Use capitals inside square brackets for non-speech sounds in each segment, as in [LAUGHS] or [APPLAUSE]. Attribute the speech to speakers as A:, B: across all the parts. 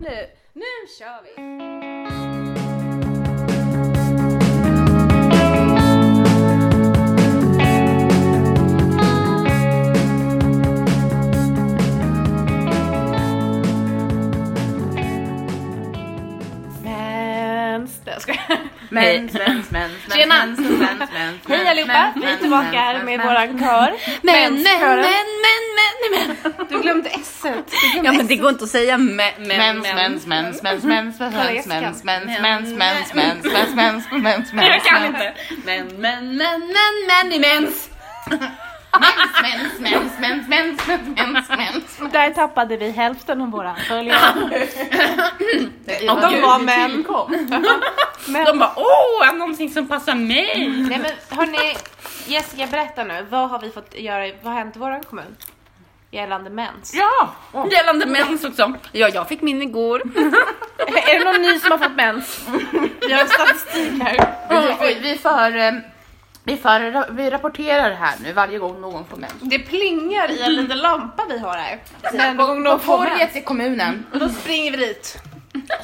A: Nu, nu kör vi!
B: Mens. Nej, Jag skojar.
C: Mens, mens, mens, mens,
B: Tjena.
C: mens, mens, mens, mens,
B: [LAUGHS] Hej allihopa!
C: mens,
B: Vi är
C: mens,
B: tillbaka
C: mens,
B: här
C: mens,
B: med
C: mens.
B: våran kör.
C: Men, men, men,
B: Menskören.
C: men, men, men.
B: Du glömde S.
C: Ja men det går inte att säga men, men,
B: Mens,
C: men.
B: mens,
C: Mens, mens, mens, mens, mens, mens, mens, mens, mens, mens, mens, mens, mens, mens,
B: Jag kan
C: mens.
B: inte.
C: Men, men, men, men, men i mens. Mens, mens, mens, mens, mens, mens, mens, mens.
B: Där tappade vi hälften av våra följare.
C: Och
B: de
C: gud,
B: var
C: det
B: män.
C: tillkom.
B: Men,
C: De bara åh, någonting som passar mig.
B: nej men hörni, Jessica berätta nu. Vad har vi fått göra, i- vad har hänt i våran kommun? Gällande mens.
C: Ja, gällande mens också. Ja, jag fick min igår.
B: [LAUGHS] Är det någon ny som har fått mens? Vi har statistik här.
C: Oj, oj, vi för, eh, vi för, vi rapporterar det här nu varje gång någon får mens.
B: Det plingar i en liten lampa vi har här.
C: På-
B: Varje gång
C: på
B: någon får mens.
C: torget i kommunen
B: Och då springer vi dit.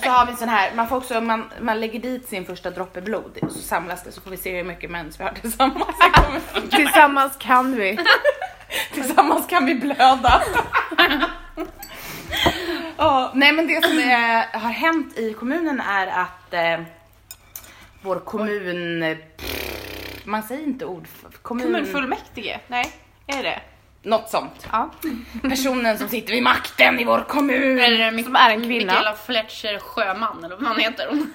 C: så har vi en sån här, man får också, man, man lägger dit sin första droppe blod så samlas det så får vi se hur mycket mens vi har
B: [LAUGHS]
C: tillsammans. i kommunen.
B: Tillsammans kan vi.
C: tillsammans kan vi blöda. Ja, nej men det som eh, har hänt i kommunen är att eh, vår kommun, man säger inte ord, kommun,
B: Kommunfullmäktige? Nej, är det
C: något sånt.
B: Ja.
C: Personen som sitter vid makten i vår kommun.
B: Som är en kvinna.
D: Mikaela Fletcher Sjöman eller vad man heter. Hon.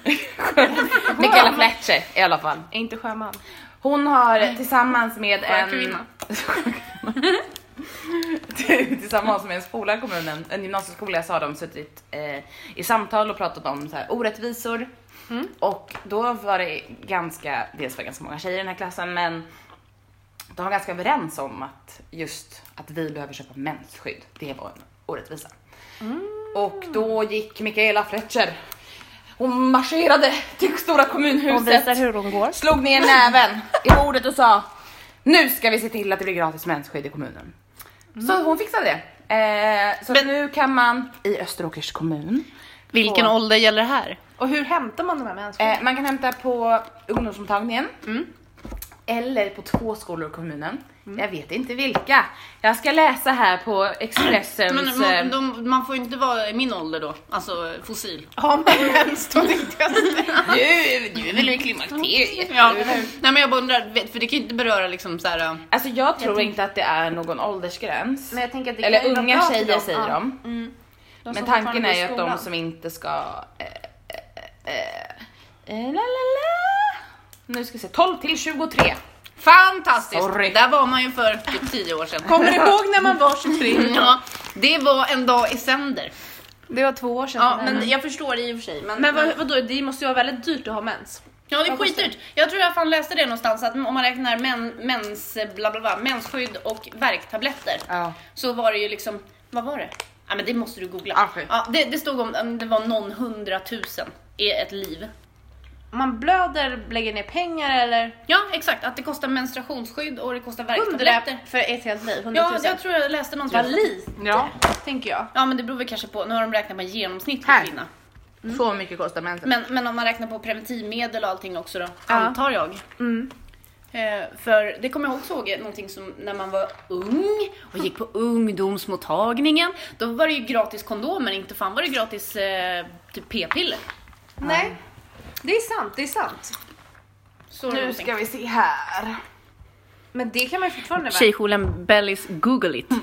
C: Michaela Fletcher i alla fall.
B: Är inte sjöman.
C: Hon har tillsammans med en...
D: kvinna.
C: [LAUGHS] tillsammans med en skola i kommunen, en gymnasieskola, så har de suttit eh, i samtal och pratat om så här, orättvisor.
B: Mm.
C: Och då var det ganska, dels var det ganska många tjejer i den här klassen, men de var ganska överens om att just att vi behöver köpa mensskydd. Det var en orättvisa.
B: Mm.
C: Och då gick Mikaela Fletcher. Hon marscherade till stora kommunhuset.
B: Hon visar hur hon går.
C: Slog ner näven i bordet och sa Nu ska vi se till att det blir gratis mensskydd i kommunen.
B: Mm.
C: Så hon fixade det. Eh, så nu kan man i Österåkers kommun,
D: Vilken
C: Åh.
D: ålder gäller det här?
B: Och hur hämtar man de här människorna?
C: eh, man kan hämta på ungdomsmottagningen
B: Mm.
C: eller på två skolor i kommunen. Jag vet inte vilka. Jag ska läsa här på Expressens...
D: Men
C: eh,
D: man, de, man får ju inte vara i min ålder då, alltså fossil.
B: Har man mens då tänkte jag [LAUGHS] säga.
C: nu, nu vill vi klimakteriet.
D: Ja. Nej men jag bara undrar, vet- för det kan ju inte beröra liksom så här.
C: Alltså jag tror inte att det är någon åldersgräns.
B: Men jag tänker att det
C: Eller
B: kan ju vara
C: unga
B: bra för
C: tjejer
B: dem.
C: säger
B: Ja. Mm.
C: de.
B: De
C: Men
B: som
C: tanken
B: fortfarande
C: är
B: går i
C: ju att de
B: skolan.
C: som inte ska... Eh, eh, eh, eh, la, la, la. Nu ska vi se, 12 till 23.
D: Fantastiskt!
C: Sorry.
D: Där var man ju för typ 10 år sedan. Mm,
B: Kommer du ihåg när man var 23?
D: Ja, det var en dag i sänder.
B: Det var två år sedan.
D: Ja, men jag förstår det i och för sig. Men,
B: men vad, vadå, det måste ju vara väldigt dyrt att ha mens.
D: Ja det är skitdyrt. Jag tror jag fan läste det någonstans att om man räknar men, mens, bla bla bla, mensskydd och värktabletter
C: Ja.
D: så var det ju liksom, vad var det? Ja men det måste du googla.
C: Ah, skit.
D: Ja, det, det stod om, om det var någon hundratusen i ett liv.
B: Om man blöder, lägger ner pengar eller...
D: Ja exakt, att det kostar menstruationsskydd och det kostar
B: Hundra
D: värktabletter.
B: för ett helt liv.
D: Ja,
B: hundratusen.
D: jag tror jag läste
B: Vad
D: någonstans.
B: lite,
C: Ja.
B: tänker jag.
D: Ja men det beror väl kanske på, nu har de räknat på en genomsnittlig
C: Här.
D: kvinna.
C: Så mycket kostar mensen.
D: Men, men om man räknar på preventivmedel och allting också då,
B: Ja.
D: antar jag. Eh, för det kommer jag också ihåg, eh, någonting som när man var ung och gick på ungdomsmottagningen, då var det ju gratis kondomer, inte fan var det gratis eh, typ p-piller.
B: Nej, det är sant, det är sant.
D: Så var det
C: Nu
D: någonting.
C: ska vi se här.
B: Men det kan man ju fortfarande vara.
D: Tjejjouren Bellis google it.
B: Det,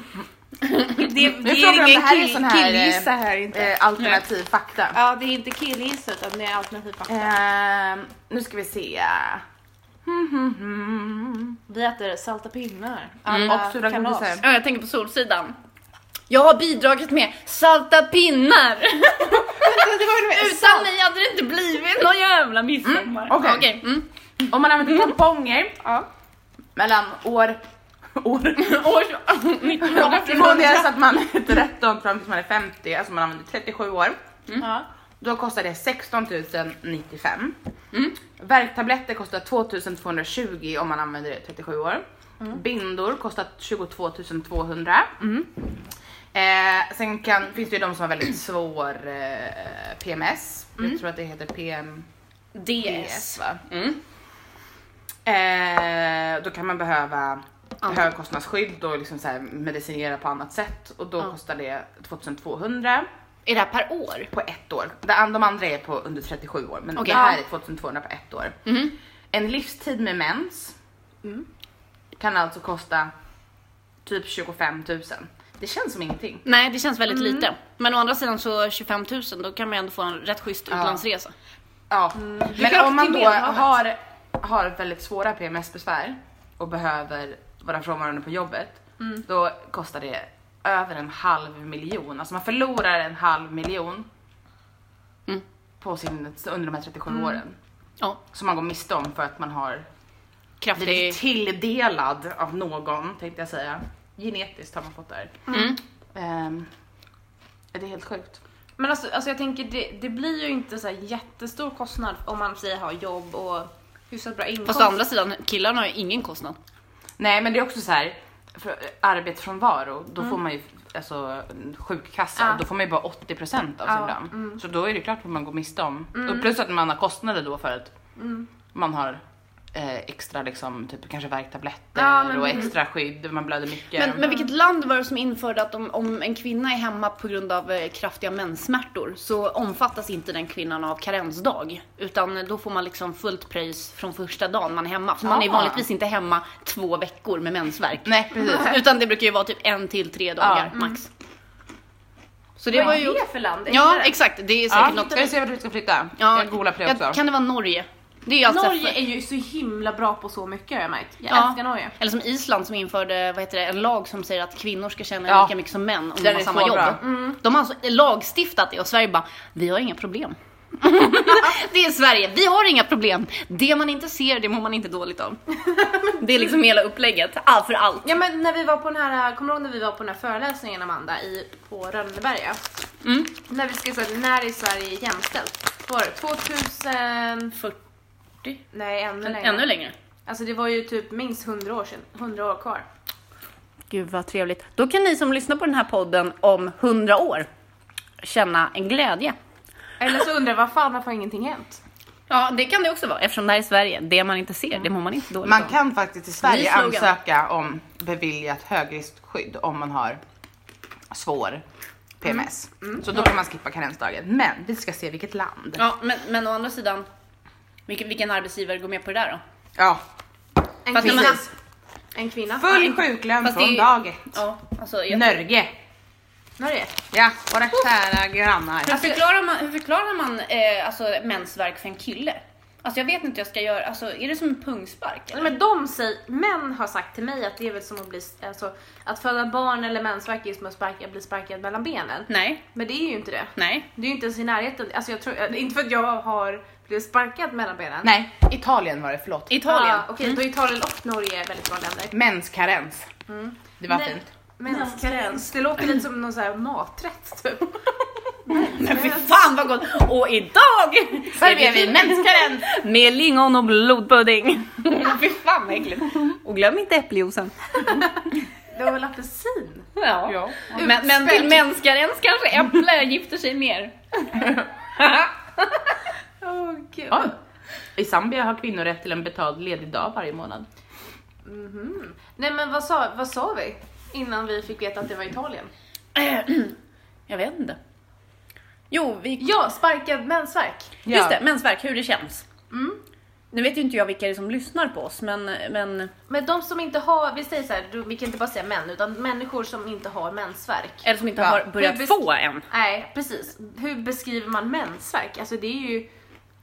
C: Nu frågar de om det här är sån här, eh, Eh, alternativ fakta.
B: Ja, det är inte killgissa utan det är alternativ fakta.
C: Eh, nu ska vi se. Hmm, hmm, hmm.
B: Vi äter salta pinnar.
C: Och sura godisar.
D: Ja, jag tänker på Solsidan. Jag har bidragit med salta [LAUGHS] pinnar! Utan mig hade det inte blivit någon jävla midsommar.
C: Mm, okej.
D: Okej, mm.
C: [LAUGHS] Om man använder tamponger
B: Ja.
C: mellan år... år.
D: [LAUGHS] [LAUGHS] År
C: Från det är så att [LAUGHS] man är 13 fram tills man är 50, alltså man använder 37 år.
B: Ja.
C: Då kostar det 16 095. Mm. Värktabletter kostar 2220 om man
D: Mm.
C: använder det i 37 år. Bindor kostar 22 200. Eh, sen kan, finns det ju de som har väldigt svår eh, PMS. Jag tror att det heter PM...
D: DS.
C: PS va?
D: Mm.
C: Eh, då kan man behöva
D: Anti-
C: högkostnadsskydd och liksom så här medicinera på annat sätt och då
D: Ja.
C: kostar det 2200
D: Är det här per år?
C: på ett år. De an- de andra är på under 37 år men
D: Okej.
C: det här är 2200 på ett år. En livstid med mens kan alltså kosta typ 25 000. Det känns som ingenting.
D: Nej, det känns väldigt lite. Men å andra sidan så 25 000, då kan man ju ändå få en rätt schysst utlandsresa.
C: Ja. Mm. Men
B: kan
C: om man
B: till
C: då
B: Medelhavet.
C: har, har väldigt svåra PMS-besvär och behöver vara frånvarande på jobbet, då kostar det över en halv miljon. Alltså man förlorar en halv miljon
D: Mm.
C: på sin, under de här 37 åren.
D: Ja,
C: Som man går miste om för att man har blivit
D: kraftigt.
C: tilldelad av någon, tänkte jag säga. Genetiskt har man fått där.
D: Mm.
C: Ehm, det är helt sjukt.
B: Men alltså, alltså jag tänker det, det blir ju inte så här jättestor kostnad om man säger har jobb och hyfsat bra inkomst.
D: Fast å andra sidan, killarna har ju ingen kostnad.
C: Nej men det är också så här för arbetsfrånvaro, då får man ju alltså, sjukkassa,
B: Ja.
C: då får man ju bara 80% av sin
B: Ja,
C: lön. Så då är det klart att man går miste om. Och plus att man har kostnader då för att man har eh, extra liksom, typ kanske värktabletter
B: Ja, men-
C: och extra skydd, man blöder mycket.
D: Men, men vilket land var det som införde att om, om en kvinna är hemma på grund av eh, kraftiga menssmärtor så omfattas inte den kvinnan av karensdag. Utan då får man liksom fullt pröjs från första dagen man är hemma. För man är
C: Ah.
D: vanligtvis inte hemma två veckor med mensvärk.
C: Nej precis.
D: Utan det brukar ju vara typ en till tre dagar max. mm. Så det var ju...
B: Vad är det för land? Är
D: Ja
B: det-
D: exakt, det är
C: Ja,
D: säkert något...
C: ska vi se vart vi ska flytta?
D: Ja,
C: jag googlar på det också.
D: Kan det vara Norge? Det är ju alltså
B: Norge är ju så himla bra på så mycket har jag märkt. Jag
D: Ja.
B: älskar Norge.
D: Eller som Island som införde vad heter det, en lag som säger att kvinnor ska tjäna
C: Ja.
D: lika mycket som män om
C: Den
D: de har
C: är
D: samma
C: så
D: jobb.
C: bra.
D: De har alltså lagstiftat det och Sverige bara, vi har inga [LAUGHS] problem. det är Sverige, vi har inga problem. Det man inte ser, det mår man inte dåligt av. det är liksom hela upplägget, all för allt.
B: Ja men när vi var på den här, kommer du ihåg när vi var på den här föreläsningen Amanda i, på Rönneberga?
D: Mm.
B: När vi skrev såhär, när är Sverige jämställt? Var det 2000?
D: 40?
B: Nej ännu längre.
D: Ännu längre.
B: Alltså det var ju typ minst 100 år sedan, 100 år kvar.
D: Gud vad trevligt. Då kan ni som lyssnar på den här podden om 100 år känna en glädje.
B: Eller så undrar jag vad fan varför har ingenting hänt?
D: Ja, det kan det också vara eftersom det här är Sverige. Det man inte ser, det mår man inte dåligt
C: Man
D: av.
C: kan faktiskt i Sverige
D: slogan.
C: ansöka om beviljat högriskskydd om man har svår PMS. Så då kan man skippa karensdagen. Men vi ska se vilket land. Ja.
D: Mm. Ja, men, men å andra sidan, vilken, vilken arbetsgivare går med på det där då?
B: En
D: Fast när
B: kvinna.
D: man-
B: En kvinna.
C: Full sjuklön
D: Fast det är
C: från
D: ju-
C: dag ett.
D: Ja, alltså, jag,
C: Norge.
B: Norge.
C: Ja, våra kära grannar.
D: Alltså, hur, förklarar man, hur förklarar man eh, alltså, mensvärk för en kille? Alltså jag vet inte hur jag ska göra, alltså, är det som en pungspark?
B: Nej,
D: Eller?
B: Men de säger, män har sagt till mig att det är väl som att bli, alltså, att föda barn eller mensvärk är ju som att sparka, bli sparkad mellan benen.
D: Nej,
B: Men det är ju inte det.
D: nej.
B: Det är ju inte ens i närheten. Alltså jag tror, inte för att jag har blivit sparkad mellan benen.
C: Nej, Italien var det, Mm. förlåt.
D: Italien.
B: Ah, Okej, då är Italien och Norge är väldigt bra länder.
C: Menskarens.
D: Mm.
C: Det var
B: Nej.
C: fint.
B: Menskarens. Det låter lite som någon sån här maträtt typ.
C: [LAUGHS]
D: Men fy fan vad gott! [LAUGHS] Och idag
C: Serverar vi
D: mänskaren med lingon och blodpudding. fy fan vad äckligt. Och glöm inte äppeljuicen.
B: Det var väl apelsin?
D: [LAUGHS] Ja.
C: Ja.
D: Men, men till mänskaren kanske äpple gifter sig mer.
B: Åh gud.
C: Ja. I Zambia har kvinnor rätt till en betald ledig dag varje månad.
B: Mhm. Nej men vad sa, vad sa vi? Innan vi fick veta att det var Italien.
D: Jag vet inte. Jo, vi
B: Ja, sparkad mensvärk.
D: Just det, mensvärk, hur det känns. Mm. Nu vet ju inte jag vilka det är som lyssnar på oss, men, men
B: Men de som inte har, vi säger så här, du- vi kan inte bara säga män, utan människor som inte har mensvärk.
D: eller som inte
C: Ja.
D: har börjat
B: Hur bes-
D: få än.
B: Nej, precis. Hur beskriver man mensvärk? Alltså det är ju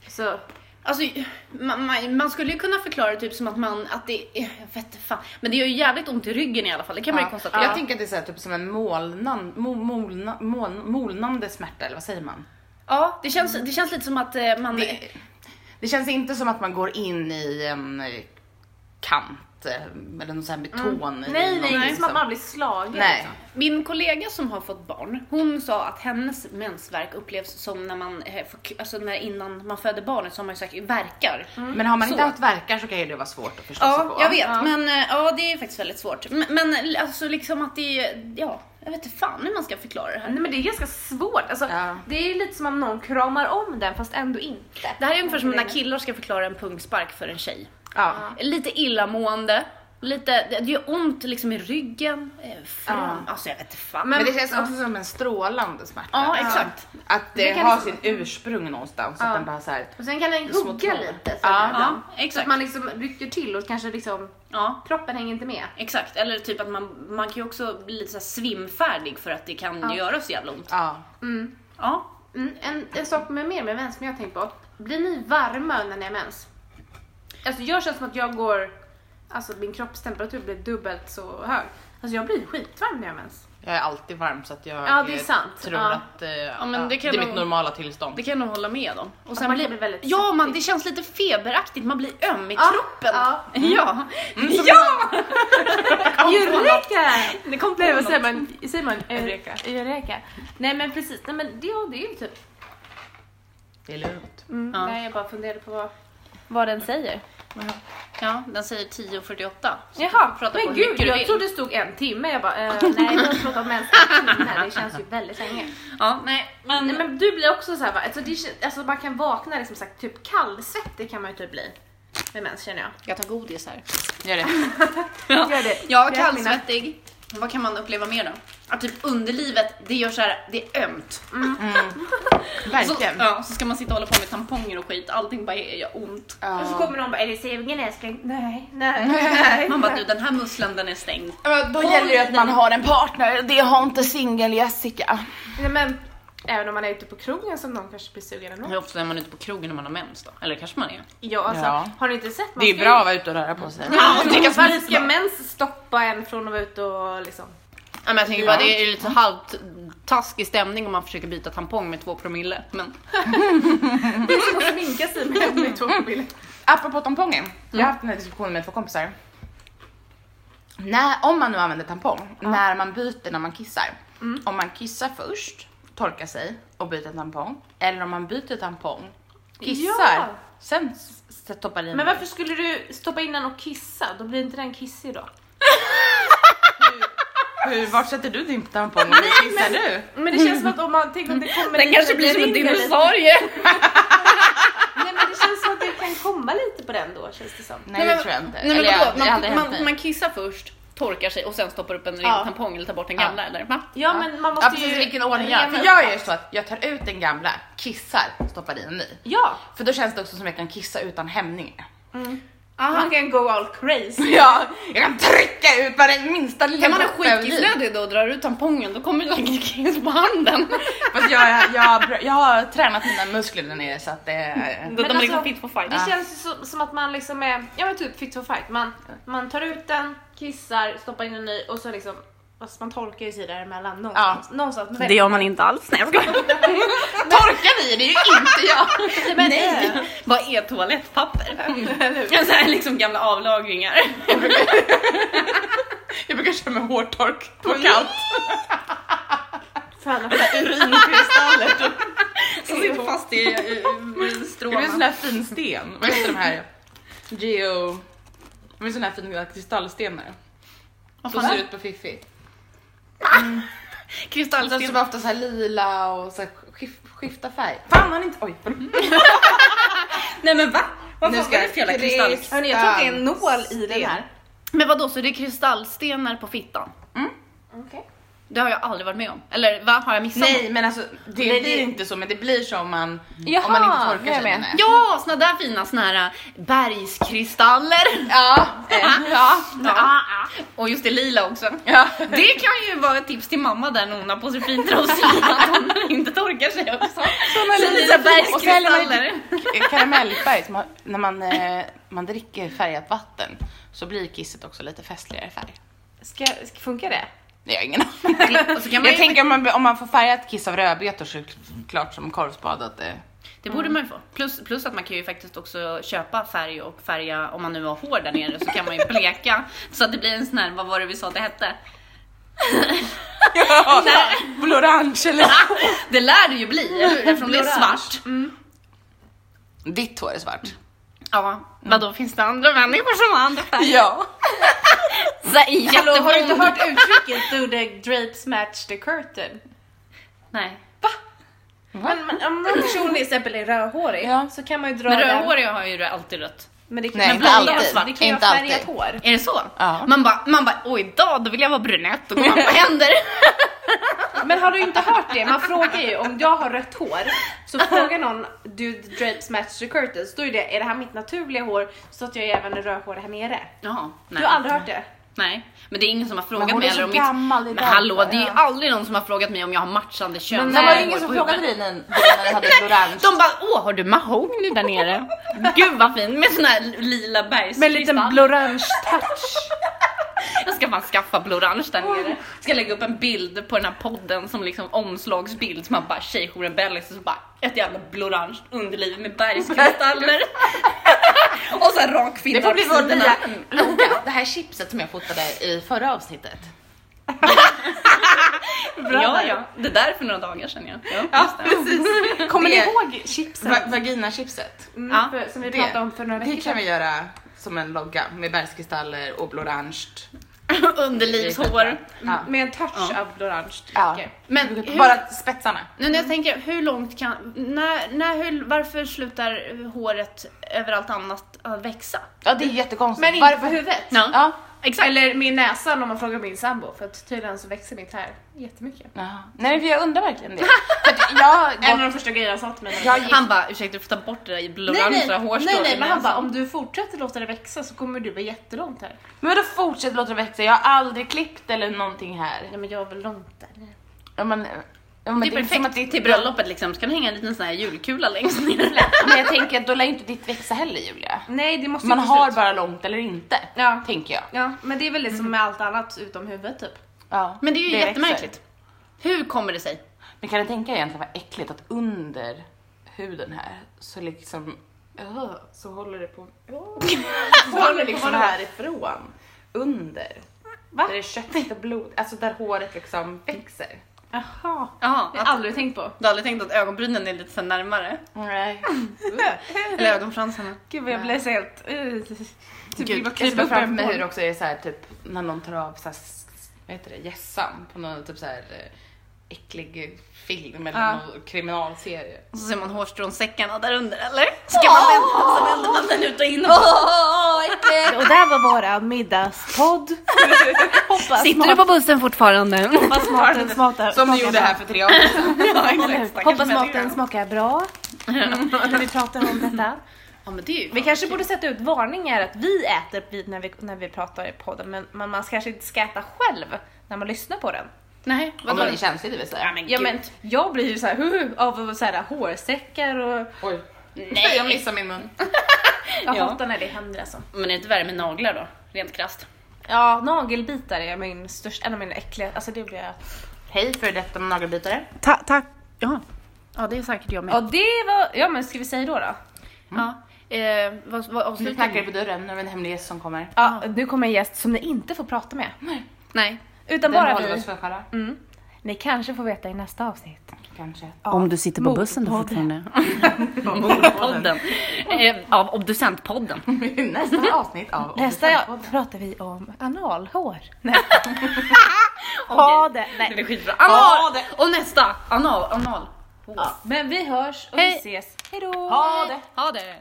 B: så...
D: Alltså, man, man, man skulle ju kunna förklara det typ som att man, att det, eh, jag vet inte fan, men det gör ju jävligt ont i ryggen i alla fall, det kan man ju
C: Ja.
D: konstatera.
C: Jag tänker att det är så här, typ som en molnan, mo, molna, moln- molnande smärta, eller vad säger man?
D: Ja, det känns, det känns lite som att eh, man,
C: Det, det känns inte som att man går in i en eh, kant. plast eh, eller någon sån här beton i.
B: Nej, nej,
C: någon,
B: inte som att man blir slagen.
C: liksom- Nej.
B: Liksom.
D: Min kollega som har fått barn, hon sa att hennes mensvärk upplevs som när man, eh, får- alltså när innan man föder barnet så har man ju sagt verkar.
C: Men har man inte
D: Så.
C: haft verkar så kan ju det vara svårt att förstå sig
D: Alltså, Ja,
C: på.
D: jag vet.
B: Ja.
D: Men eh, ja, det är faktiskt väldigt svårt. Men, men alltså liksom att det är, ja, jag vet inte fan hur man ska förklara det här.
B: Nej men det är ganska svårt. Alltså,
C: Ja.
B: Det är lite som om någon kramar om den fast ändå inte.
D: Det här är ungefär som när killar ska förklara en pungspark för en tjej.
C: Ja.
D: Lite illamående, lite, det det gör ont liksom i ryggen, eh, fram, alltså jag vet inte fan.
B: Men-
C: Men det känns också som en strålande smärta.
D: ja, exakt.
C: Att det,
B: Det kan
C: har
B: liksom-
C: sin ursprung någonstans.
B: Ja.
C: Att den bara så här,
B: Och sen kan den
C: Små
B: hugga
C: tår.
B: lite. Så
C: Ja.
B: här
D: Ja,
B: ibland. så
D: exakt.
B: att man liksom rycker till och kanske liksom
D: Ja,
B: kroppen hänger inte med.
D: exakt. Eller typ att man, man kan ju också bli lite så här svimfärdig för att det kan göra så jävla ont.
C: ja.
B: Mm.
D: Ja.
B: Mm. En, en sak med mer med mens som jag har tänkt på. Blir ni varma när ni har mens? Alltså jag känner som att jag går, alltså att min kroppstemperatur blir dubbelt så hög. Alltså jag blir skitvarm när jag har mens.
C: Jag är alltid varm så att jag
B: Ja, det är
C: eh,
B: sant.
C: tror
B: Ja.
C: att eh, ja,
D: men det
C: det,
D: kan
C: är
D: nog-
C: mitt normala tillstånd.
D: Det kan jag nog hålla med om. Och
B: man blir väldigt
D: ja, man, det känns lite feberaktigt, man blir öm i
B: Ja,
D: kroppen. [LAUGHS]
B: ja. Mm.
D: ja.
C: Mm,
D: ja!
B: Eureka! Det kom Nej, vad
D: något.
B: säger man? Säger man eh,
D: Eureka.
B: Eureka. Nej men precis, nej men det, ja, det är ju typ.
C: Det är lugnt.
B: Mm.
D: Ja.
B: Nej jag bara funderade på vad, vad den säger.
D: Ja, den säger 10.48. Så du
B: Jaha,
D: får prata på
B: men
D: hur
B: gud
D: mycket du
B: jag
D: vill.
B: trodde det stod en timme. Jag bara, eh, nej vi har pratat om mens en timme. Det känns ju väldigt länge.
D: Ja, nej, men...
B: Nej men du blir också såhär va, alltså, det, kän- alltså man kan vakna liksom sagt typ kallsvettig kan man ju typ bli. Med mens känner jag.
D: Jag tar
B: [LAUGHS]
D: godis här.
C: Gör det.
D: [LAUGHS]
B: Gör det.
D: Ja,
B: Ät
D: kallsvettig. Vad kan man uppleva mer då? Att typ underlivet, det gör så här, det är ömt. Så,
C: Verkligen.
D: ja, så ska man sitta och hålla på med tamponger och skit, allting bara gör ont.
B: Och så
C: Ja.
B: kommer någon bara, är du sugen älskling? Nej, nej, nej.
D: Man bara, du den här musslan den är stängd.
C: Ja, Då gäller det att man har en partner. Det har inte singel-Jessica.
B: Nej men, även om man är ute på krogen som någon kanske blir sugen ändå.
D: Hur ofta är man ute på krogen när man har mens då? Eller kanske man är?
B: Ja, alltså,
C: Ja.
B: har ni inte sett? Man
C: Det är
B: ska
C: ju bra att vara ute och röra på sig.
D: Ja, och dricka
B: Varför ska
D: smutsman.
B: mens stoppa en från att vara ute och liksom...
D: Ja, men jag tänker bara det är lite halvt taskig stämning om man försöker byta tampong med två promille. Men
B: Det är som att sminka sig med med två mobiler.
C: Apropå tamponger. Jag har haft den här diskussionen med två kompisar. När, om man nu använder tampong, när man byter när man kissar. Om man kissar först, torkar sig och byter tampong. Eller om man byter tampong, kissar,
B: Ja.
C: sen s- s- stoppar i
B: Men varför skulle du stoppa in den och kissa? Då blir inte den kissig då?
C: Hur, vart sätter du din tampong och hur kissar du?
B: Men det känns som att om man tänker om det kommer
D: den kanske blir som en dinosaurie.
B: Nej men det känns som att det kan komma lite på den då känns det som.
C: Nej det tror jag inte.
D: Nej, men
C: Eller jag-
D: vadå?
C: det har aldrig
D: man,
C: hänt mig.
D: man, man kissar först, torkar sig och sen stoppar upp en ren
B: Ja.
D: tampong eller tar bort den
C: Ja.
D: gamla eller? Va?
B: Ja, men man måste
C: Ja precis,
B: ju...
C: i vilken ordning jag
B: rena
C: För
B: upp
C: jag
B: det.
C: gör ju så att jag tar ut den gamla, kissar, stoppar i en ny.
B: Ja,
C: För då känns det också som att jag kan kissa utan hämning. [LAUGHS]
B: man kan go all crazy.
C: Ja, jag kan trycka ut varje minsta lilla
D: Kan man ha
C: droppe av liv.
D: skitkissnödig då och drar ut tampongen då kommer det en kiss på [LAUGHS] handen.
C: Fast jag, jag, jag har tränat mina muskler där nere så att det...
D: Då de
B: alltså,
D: liksom fit for fight.
B: Det känns ju som, som att man liksom är, ja men typ fit for fight. Man, man tar ut den, kissar, stoppar in en ny och så liksom, fast man tolkar ju sig däremellan någonstans. någonstans men,
D: gör man inte alls. Nej jag skojar.
C: Torkar vi det är ju inte jag!
B: men,
D: Nej! Vad är toalettpapper? [LAUGHS] Så här liksom gamla avlagringar.
C: Jag brukar köra med hårtork på kallt.
B: Fan,
C: Urinkristaller.
D: Som sitter fast i, i, i
C: Det är en sån
D: stråna.
C: här fin sten. Vad heter de här? Geo... Det är sån här fina kristallstenar.
D: Vad
C: Så
D: fan
C: ser
D: är
C: det
D: det?
C: ut på Fifi. Den
D: Kristallsten.
C: som ofta Alltså, så här lila och så här skif- skifta färg. Fan han är inte... Oj! [LAUGHS]
D: Nej men va?
C: [LAUGHS]
D: Vad
C: Nu
D: fan
C: ska
D: var det för jävla
C: jag- Mm.
D: kristall?
C: Kristall.
B: hörni jag tror att det är en nål i den här.
D: Men vadå, så det är kristallstenar på fittan?
B: Okej.
D: Det har jag aldrig varit med om. Eller va, har jag missat något?
C: Nej men alltså det
B: det-
C: blir inte så men det blir så om man,
B: Jaha,
C: om man inte torkar
B: jag är
C: sig.
B: med.
C: Nej.
D: Ja, såna där fina såna här äh, bergskristaller.
C: Ja, eh, ja,
D: Ja. Och just det lila också.
C: [LAUGHS] ja.
D: Det kan ju vara ett tips till mamma där när hon har på sig fin [LAUGHS] trosor att hon inte torkar sig också.
C: Såna
D: Så
C: lila
D: lila
C: fin- och så häller man i-
D: bergskristaller.
C: Karamellfärg, som har- när man, eh, man dricker färgat vatten så blir kisset också lite festligare färg.
B: Ska, ska funka det?
C: Nej, jag har ingen aning.
D: Och så kan man
C: Jag
D: ju
C: tänker om man, om man får färgat kiss av rödbetor så är det klart som korvspad att det
D: Det borde man ju få. Plus, plus att man kan ju faktiskt också köpa färg och färga, om man nu har hår där nere så kan man [LAUGHS] ju bleka så att det blir en sån här, vad var det vi sa det hette?
C: Ja, Blorange eller?
D: Det lär det ju bli, eller hur? Eftersom det är
B: Blorange.
D: svart.
C: Ditt hår är svart.
D: Ja, vadå finns det andra människor som har andra färger?
C: Ja.
D: Så här,
B: Hallå, har du inte
D: jätteblond.
B: hört uttrycket do the drapes match the curtain?
D: Nej.
B: Men, men om någon person till exempel är rödhårig
C: Ja.
B: så kan man ju dra
D: Men
B: den-
D: rödhåriga har ju alltid rött.
B: Men det kan,
C: Nej,
B: men
C: inte
B: blonda har
C: alltid.
B: svart, det kan ju
C: Inte
B: ha färgat
C: alltid.
B: hår.
D: Är det så?
C: Ja.
D: Man bara, man bara, oj idag då vill jag vara brunett och man bara,
C: [LAUGHS]
D: vad händer?
B: Men har du inte hört det? Man frågar ju om jag har rött hår så frågar någon do the drapes match the curtains? Då är det, är det här mitt naturliga hår så att jag även är rödhårig här nere?
D: Jaha, nej.
B: Du har aldrig hört det?
D: Nej, men det är ingen som har
C: Men
D: frågat
C: hon
D: mig
C: är så
D: om
C: gammal
D: mitt...
C: idag,
D: Men hallå, det är ju
C: ja.
D: aldrig någon som har frågat mig om jag har matchande kön.
C: Men
D: Nej.
C: det var ingen som
D: På
C: frågade
D: huvudet.
C: dig när när du hade blorange.
D: De bara, åh har du mahogny där nere? [LAUGHS] Gud vad fin med sån här lila bergskristall.
B: blorange touch.
D: Jag ska fan skaffa blorange där nere. Ska lägga upp en bild på den här podden som liksom omslagsbild. Så man bara tjejjouren Bellis och så bara ett jävla blorange underliv med bergskristaller. [LAUGHS] och så här rak finna
C: Det får bli
D: på
C: vår
D: sidorna. Mm.
C: nya logga. Det här chipset som jag fotade i förra avsnittet.
D: Ja, ja. Det där är för några dagar sedan ja. ja.
C: Ja, precis.
B: Kommer ni
C: Det-
B: ihåg chipsen?
C: Va- Vagina-chipset.
B: Mm,
D: Ja,
B: för, som vi
C: det-
B: pratade om för några
C: Det
B: veckor
C: kan
B: sedan.
C: vi göra som en logga med bergskristaller och blorange.
D: Underlivshår.
C: Ja.
B: Med en touch av orange.
C: Ja.
B: tycker jag.
D: Men hur,
C: Bara spetsarna.
D: nu
B: Mm.
D: när jag tänker, hur långt kan, när, när, hur, varför slutar håret överallt annat att växa?
C: Ja det är jättekonstigt.
B: Men inte på huvudet.
D: Ja,
C: Ja.
D: exakt.
B: Eller min näsa om man frågar min sambo för att tydligen så växer mitt här jättemycket.
C: Jaha. Nej för jag undrar verkligen det. För att jag har
B: En av
C: gått...
B: de första grejerna han sa till mig. när
C: Jag gick...
D: Han bara, ursäkta du får ta bort det där
B: Nej nej,
D: blåorangea hårstrået.
B: nej, nej,
D: i
B: men han
D: näsan."
B: bara om du fortsätter låta det växa så kommer du vara jättelångt här.
C: Men då fortsätter låta det växa, jag har aldrig klippt eller någonting här.
B: Ja men jag är väl långt där.
C: Ja, men, ja, men
D: Det är perfekt till bröllopet liksom, så kan det hänga en liten sån här julkula längst ner.
C: Men jag tänker att då lär ju inte ditt växa heller Julia.
B: Nej det måste
C: Man
B: ju ta
C: har
B: slut.
C: bara långt eller inte,
B: Ja.
C: tänker jag.
B: Ja men det är väl liksom med allt annat utom huvudet typ.
C: Ja,
D: Men det är ju
C: växer.
D: jättemärkligt. Hur kommer det sig?
C: Men kan ni tänka er egentligen vad äckligt att under huden här så liksom öh, [LAUGHS] så håller det på så håller det liksom härifrån under.
B: Va?
C: Där det är köttigt och blod, alltså där håret liksom växer.
B: Jaha.
D: Jaha,
B: Jag har aldrig tänkt på.
D: du har aldrig tänkt att ögonbrynen är lite så här närmare?
C: Nej.
D: Eller ögonfransarna?
B: Gud vad jag blev så helt... [LAUGHS] Uh, typ
C: Gud,
B: vill bara
C: jag
B: krypa
C: ser
B: upp
C: framför
B: en
C: mig hur det
B: porr.
C: också är så här typ när någon tar av så här, s- s- vad heter det, gässan på någon typ så här eh, äcklig film eller
B: Ja.
C: någon kriminalserie.
D: Och så ser man hårstrånsäckarna där under eller? Ska man vända, så vänder man den ut och in och
B: Och där var våra
D: [LAUGHS]
B: middagspodd. Hoppas
D: Sitter du på bussen fortfarande?
B: Hoppas maten smakar
C: Som du gjorde här för tre år [LAUGHS] sedan.
B: Hoppas maten smakar [LAUGHS] bra. När vi pratar om detta.
D: Ja men det är ju
B: Vi kanske borde sätta ut varningar att vi äter vid när vi, när vi pratar i podden men man, man kanske inte ska äta själv när man lyssnar på den.
D: Nej,
C: Om
D: vadå?
C: man är känslig det vill säga.
D: Ja men gud.
B: Ja, men jag blir ju såhär huhu av så här, hårsäckar och
C: Oj.
D: Nej.
C: Jag missade min mun.
B: jag
D: Ja.
B: hatar när det händer alltså.
D: men är det inte värre med naglar då? Rent krasst.
B: Ja, nagelbitar är min största, en av mina äckliga, alltså det blir jag...
C: Hej för detta med nagelbitare.
B: tack!
D: Ja. Ja det är säkert jag med.
B: Ja det var, ja men ska vi säga då då?
D: Ja. Eh, vad, vad
C: Nu
D: avslutar
C: knackar det
D: vi?
C: på dörren, nu är det en hemlig gäst som kommer.
B: Ja, nu kommer en gäst som ni inte får prata med.
D: Nej.
B: Utan
C: Den
B: bara
C: håller
B: vi.
C: oss för skära.
B: Ni kanske får veta i nästa avsnitt.
C: Kanske. [LAUGHS]
D: Om du sitter
B: på bussen då
D: fortfarande. [LAUGHS] Mordpodden. Eh, Av obducentpodden.
C: Nästa avsnitt av
B: Nästa ja, pratar vi om analhår. Nej. [LAUGHS] ha det!
D: Det blir
B: Nej.
D: skitbra.
C: Ja,
D: Anal!
C: det-
D: Och nästa! Anal. Anal.
B: Men vi hörs och vi
D: Hej.
B: ses. Hejdå!
C: Ha det!
D: Ha det!